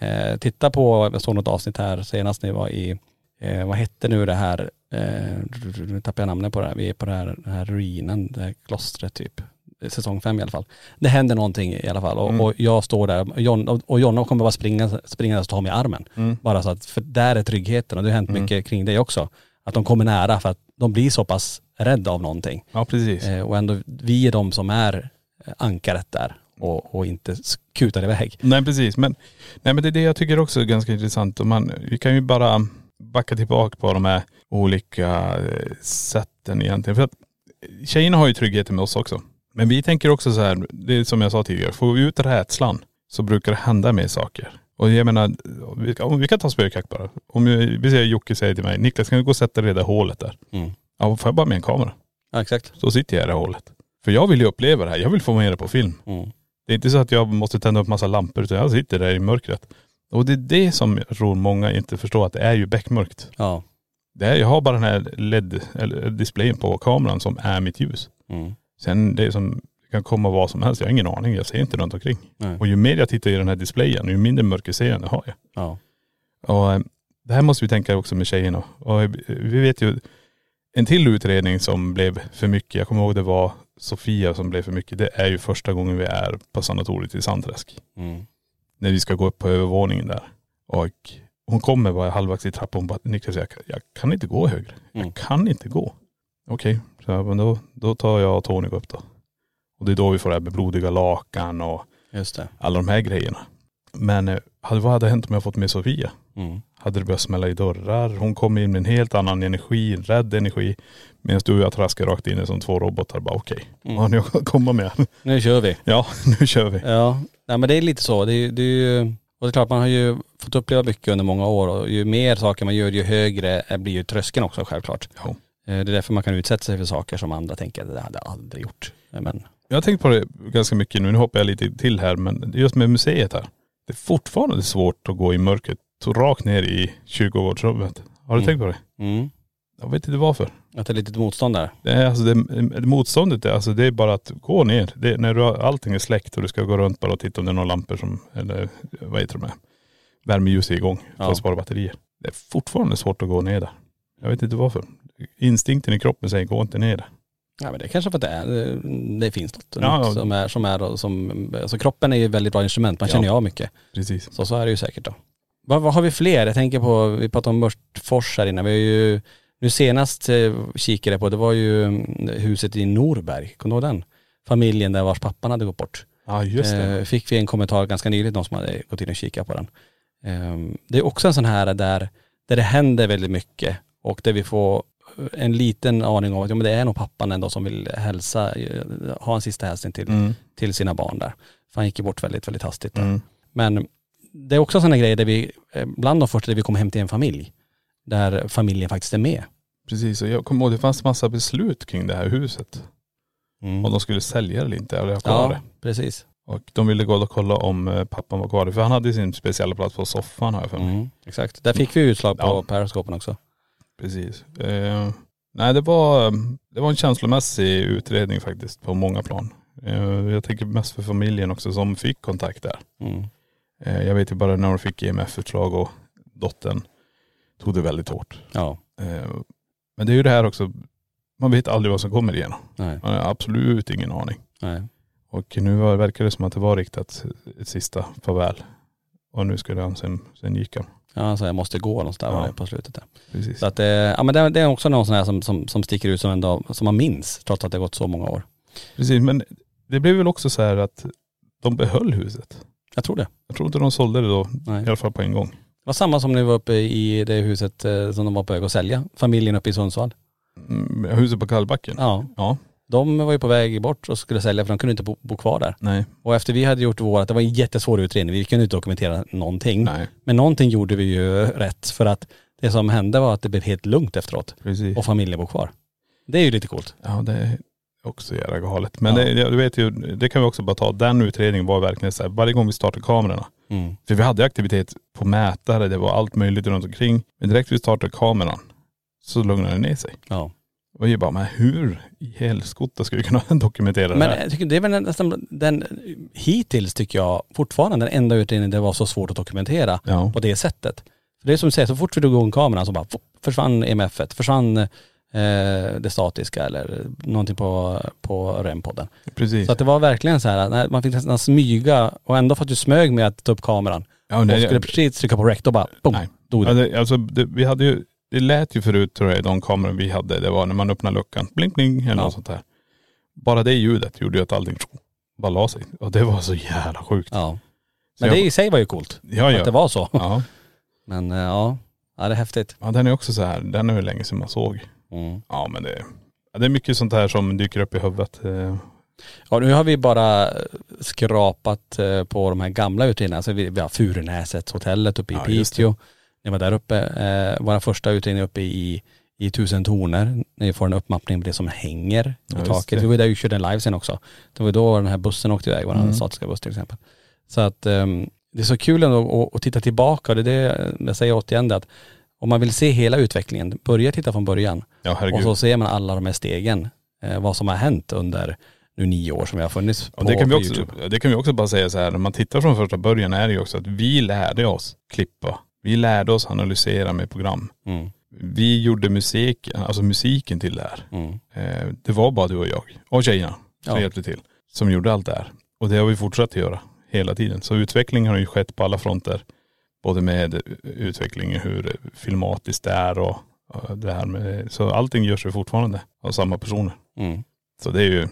B: Eh, titta på, jag såg något avsnitt här senast när vi var i, eh, vad hette nu det här, eh, nu tappade jag namnet på det här, vi är på det här, den här ruinen, det här klostret typ. Säsong fem i alla fall. Det händer någonting i alla fall och,
C: Mm.
B: och jag står där och John, och Jonna kommer bara springa, springa och ta mig i armen.
C: Mm.
B: Bara så att, för där är tryggheten och det har hänt
C: Mm.
B: mycket kring det också. Att de kommer nära för att de blir så pass rädda av någonting.
C: Ja precis.
B: Eh, och ändå, vi är de som är eh, ankaret där och, och inte s- kutar iväg.
C: Nej precis. Men, nej, men det är det jag tycker också är ganska intressant. Och man, vi kan ju bara backa tillbaka på de här olika eh, sätten egentligen. För att tjejerna har ju tryggheten med oss också. Men vi tänker också så här, det är som jag sa tidigare, får vi ut rädslan så brukar det hända mer saker. Och jag menar, vi, om vi kan ta spökjakt bara. Om vi, vi säger Jocke säger till mig, Niklas kan du gå och sätta dig i det där hålet där?
B: Mm.
C: Ja, får jag bara med en kamera?
B: Ja exakt.
C: Så sitter jag i det här hålet. För jag vill ju uppleva det här, jag vill få med det på film.
B: Mm.
C: Det är inte så att jag måste tända upp massa lampor utan jag sitter där i mörkret. Och det är det som jag tror många inte förstår att det är ju beckmörkt.
B: Ja.
C: Det är, jag har bara den här LED, eller displayen på kameran som är mitt ljus.
B: Mm.
C: Sen det är som det kan komma vad som helst, jag har ingen aning, jag ser inte runt omkring.
B: Nej.
C: Och ju mer jag tittar i den här displayen, ju mindre mörkerseende har jag.
B: Ja.
C: Och eh, det här måste vi tänka också med tjejerna. Och eh, vi vet ju en till utredning som blev för mycket, jag kommer ihåg det var Sofia som blev för mycket, det är ju första gången vi är på sanatoriet i Sandträsk.
B: Mm.
C: När vi ska gå upp på övervåningen där. Och hon kommer bara halvvägs i trappan och bara, Niklas jag, kan- jag kan inte gå högre.
B: Mm.
C: Jag kan inte gå. Okej, så jag, men då, då tar jag och Tony upp då. Och det är då vi får det här med blodiga lakan och
B: Just det.
C: alla de här grejerna. Men eh, hade- vad hade hänt om jag fått med Sofia?
B: Mm.
C: hade det börjat smälla i dörrar. Hon kom in med en helt annan energi, en rädd energi. Medan du och jag traskar rakt in i som två robotar. Bara okej, vad har ni att komma med?
B: Nu kör vi.
C: Ja, nu kör vi.
B: Ja. Nej men det är lite så. Det, är- det är ju, och det är klart man har ju fått uppleva mycket under många år och ju mer saker man gör ju högre är- blir ju tröskeln också självklart.
C: Ja.
B: Eh, Det är därför man kan utsätta sig för saker som andra tänker att det hade jag aldrig gjort. Nej, Men,
C: Jag har tänkt på det ganska mycket nu. Nu hoppar jag lite till här. Men just med museet här. Det är fortfarande svårt att gå i mörkret. Så Rakt ner i kyrkogårdsrummet. Har du
B: Mm.
C: tänkt på det?
B: mm.
C: Jag vet inte varför.
B: Att det är lite motstånd där.
C: Det är alltså det, det motståndet är, alltså det är bara att gå ner. Det, när du har, allting är släckt och du ska gå runt bara och titta om det är några lampor som, eller vad heter de här, värmeljus är igång för
B: Ja.
C: att spara batterier. Det är fortfarande svårt att gå ner där. Jag vet inte varför. Instinkten i kroppen säger gå inte ner där.
B: Ja men det är kanske för att det, är, eh, det finns något,
C: Ja,
B: något
C: ja.
B: som är, som är och som, alltså kroppen är ju ett väldigt bra instrument, man känner ju av mycket.
C: Precis.
B: Så så är det ju säkert då. Vad, vad har vi fler? Jag tänker på, vi pratade om Mörtfors här innan, vi har ju, nu senast eh, kikade jag på, det var ju mm, huset i Norberg, kommer du ihåg den? Familjen där vars pappan hade gått bort.
C: Ja just det.
B: Eh, fick vi en kommentar ganska nyligen, någon som hade gått in och kikat på den. Eh, det är också en sån här där, där det händer väldigt mycket och där vi får en liten aning om att ja, men det är nog pappan ändå som vill hälsa, eh, ha en sista hälsning till,
C: Mm.
B: till sina barn där. För han gick ju bort väldigt, väldigt hastigt. Där.
C: Mm.
B: Men det är också sådana grejer där vi, eh, bland de första där vi kommer hem till en familj, där familjen faktiskt är med.
C: Precis och jag kommer ihåg det fanns massa beslut kring det här huset. Om
B: Mm.
C: de skulle sälja det eller inte. Eller jag ja.
B: Ja,
C: det.
B: precis.
C: Och de ville gå och kolla om eh, pappan var kvar. För han hade sin speciella plats på soffan har jag för mig.
B: Mm. Exakt. Där Mm, fick vi utslag på
C: Ja.
B: periskopen också.
C: Precis. Eh, nej, det var, det var en känslomässig utredning faktiskt på många plan. Eh, jag tänker mest för familjen också som fick kontakt där.
B: Mm.
C: Eh, jag vet ju bara när de fick EMF-utslag och dottern tog det väldigt hårt.
B: Ja.
C: Eh, men det är ju det här också, man vet aldrig vad som kommer igenom.
B: Nej.
C: Man har absolut ingen aning.
B: Nej.
C: Och nu var- verkar det som att det var riktat ett sista farväl. Och nu skulle han, sen, sen gick han.
B: Ja, han sa jag måste gå någonstans
C: Ja.
B: ja. på slutet där.
C: Precis.
B: Så att, eh, ja, men det, det är också någon sån här som, som, som sticker ut som, en dag, som man minns trots att det har gått så många år.
C: Precis, men det blev väl också så här att de behöll huset.
B: Jag tror det.
C: Jag tror inte de sålde det då,
B: Nej.
C: i alla fall på en gång.
B: Det var samma som när vi var uppe i det huset eh, som de var på väg att sälja. Familjen uppe i Sundsvall.
C: Mm, huset på Kallbacken?
B: Ja.
C: Ja,
B: De var ju på väg bort och skulle sälja för de kunde inte bo, bo kvar där.
C: nej,
B: Och efter vi hade gjort vårat, det var en jättesvår utredning, vi kunde inte dokumentera någonting.
C: nej,
B: Men någonting gjorde vi ju rätt för att det som hände var att det blev helt lugnt efteråt
C: precis.
B: och familjen bor kvar. Det är ju lite coolt.
C: Ja det är också jävla galet. Men
B: Ja.
C: det, det- du vet ju, det kan vi också bara ta, den utredningen var verkligen så här, varje gång vi startade kamerorna.
B: Mm.
C: För vi hade aktivitet på mätare, det var allt möjligt runt omkring. Men direkt vi startade kameran så lugnade det ner sig.
B: Ja.
C: Och jag bara, men hur i helskotta ska vi kunna dokumentera det
B: Men
C: här?
B: jag tycker det är väl nästan den, hittills tycker jag fortfarande den enda utredningen det var så svårt att dokumentera
C: Ja.
B: på det sättet. För det är som du säger, så fort vi drog igång kameran så bara fo- försvann E EMF, et, försvann eh, det statiska eller någonting på, på rempodden.
C: Precis.
B: Så att det var verkligen så här, att nej, man fick nästan smyga och ändå för att du smög med att ta upp kameran
C: ja,
B: och skulle precis trycka på rec, då bara boom,
C: Nej.
B: dog det.
C: Ja, det, alltså, det, vi hade ju, det lät ju förut tror jag i de kameror vi hade, det var när man öppnade luckan, bling bling eller
B: Ja.
C: något sånt där. Bara det ljudet gjorde ju att allting bara la sig. Och det var så jävla sjukt.
B: Ja.
C: Så
B: Men
C: jag-
B: det i sig var ju coolt,
C: Ja, ja.
B: att det var så.
C: Ja.
B: Men eh, ja, ja det är häftigt.
C: ja, den är också så här, den är ju länge sedan man såg.
B: Mm.
C: Ja men det, ja, det är mycket sånt här som dyker upp i huvudet. eh.
B: Ja, nu har vi bara eh, skrapat eh, på de här gamla utredningarna. Alltså vi, vi har Furunäset, hotellet uppe i
C: Ja, just det.
B: Piteå. Ni var där uppe. Eh, våra första utredning uppe i, i Tusen toner. Ni får en uppmappning på det som hänger
C: Ja,
B: i
C: just
B: taket. Vi
C: det.
B: var där och körde en live sen också. Det var då den här bussen åkte iväg, vår
C: Mm.
B: statiska buss till exempel. Så att ehm, det är så kul ändå att, att titta tillbaka och det är det jag säger återigen det att om man vill se hela utvecklingen, börja titta från början.
C: Ja herregud.
B: Och så ser man alla de här stegen, eh, vad som har hänt under nu nio år som jag har funnits på,
C: Ja, det, kan vi
B: på
C: också,
B: YouTube.
C: det kan vi också bara säga så här, när man tittar från första början är det ju också att vi lärde oss klippa. Vi lärde oss analysera med program.
B: Mm,
C: Vi gjorde musik, alltså musiken till det här.
B: mm.
C: Eh, det var bara du och jag och tjejerna som
B: Ja.
C: hjälpte till. Som gjorde allt det här. Och det har vi fortsatt att göra hela tiden. Så utvecklingen har ju skett på alla fronter. Både med utvecklingen hur filmatiskt det är och, och det här med.. Så allting görs ju fortfarande av samma personer.
B: Mm.
C: Så det är ju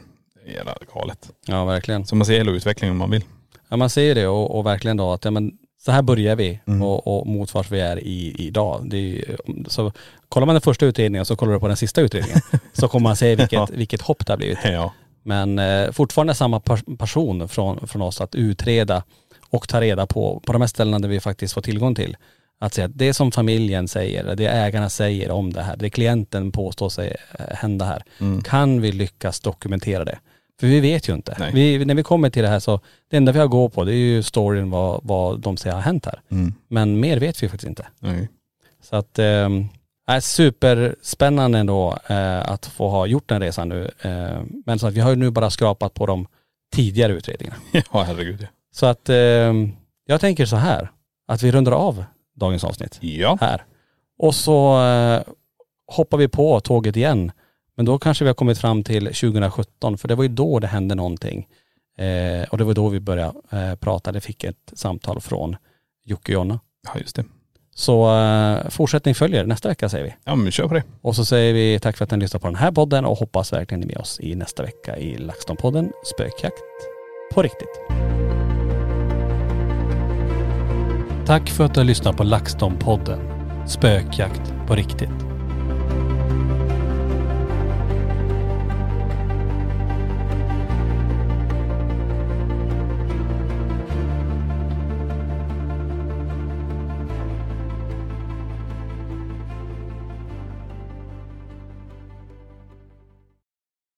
C: jävla galet.
B: Ja verkligen.
C: Så man ser hela utvecklingen om man vill.
B: Ja man ser ju det och, och verkligen då att ja, men, så här börjar vi
C: Mm.
B: och, och mot vart vi är i, idag. Det är, ju- så kollar man den första utredningen så kollar du på den sista utredningen så kommer man se vilket,
C: Ja.
B: vilket hopp det har blivit.
C: Ja.
B: Men eh, fortfarande samma pers- person från, från oss att utreda och ta reda på, på de här ställena där vi faktiskt får tillgång till. Att säga att det som familjen säger, det ägarna säger om det här, det klienten påstår sig eh, hända här.
C: Mm.
B: Kan vi lyckas dokumentera det? För vi vet ju inte.
C: Nej.
B: Vi, när vi kommer till det här så, det enda vi har att gå på det är ju storyn vad, vad de säger har hänt här.
C: Mm.
B: Men mer vet vi faktiskt inte.
C: Nej.
B: Så att, eh, är superspännande ändå eh, att få ha gjort den resan nu. Eh, men så att vi har ju nu bara skrapat på de tidigare utredningarna.
C: Ja herregud ja.
B: Så att eh, jag tänker så här, att vi rundar av dagens avsnitt
C: Ja.
B: här. Och så eh, hoppar vi på tåget igen. Men då kanske vi har kommit fram till 2017, för det var ju då det hände någonting. Eh, och det var då vi började eh, prata, det fick ett samtal från Jocke och Jonna.
C: ja just det.
B: Så eh, fortsättning följer nästa vecka säger vi.
C: Ja men kör på det.
B: Och så säger vi tack för att ni lyssnar på den här podden och hoppas verkligen ni är med oss i nästa vecka i LaxTon-podden Spökjakt på riktigt. Tack för att du har lyssnat på LaxTon-podden Spökjakt på riktigt.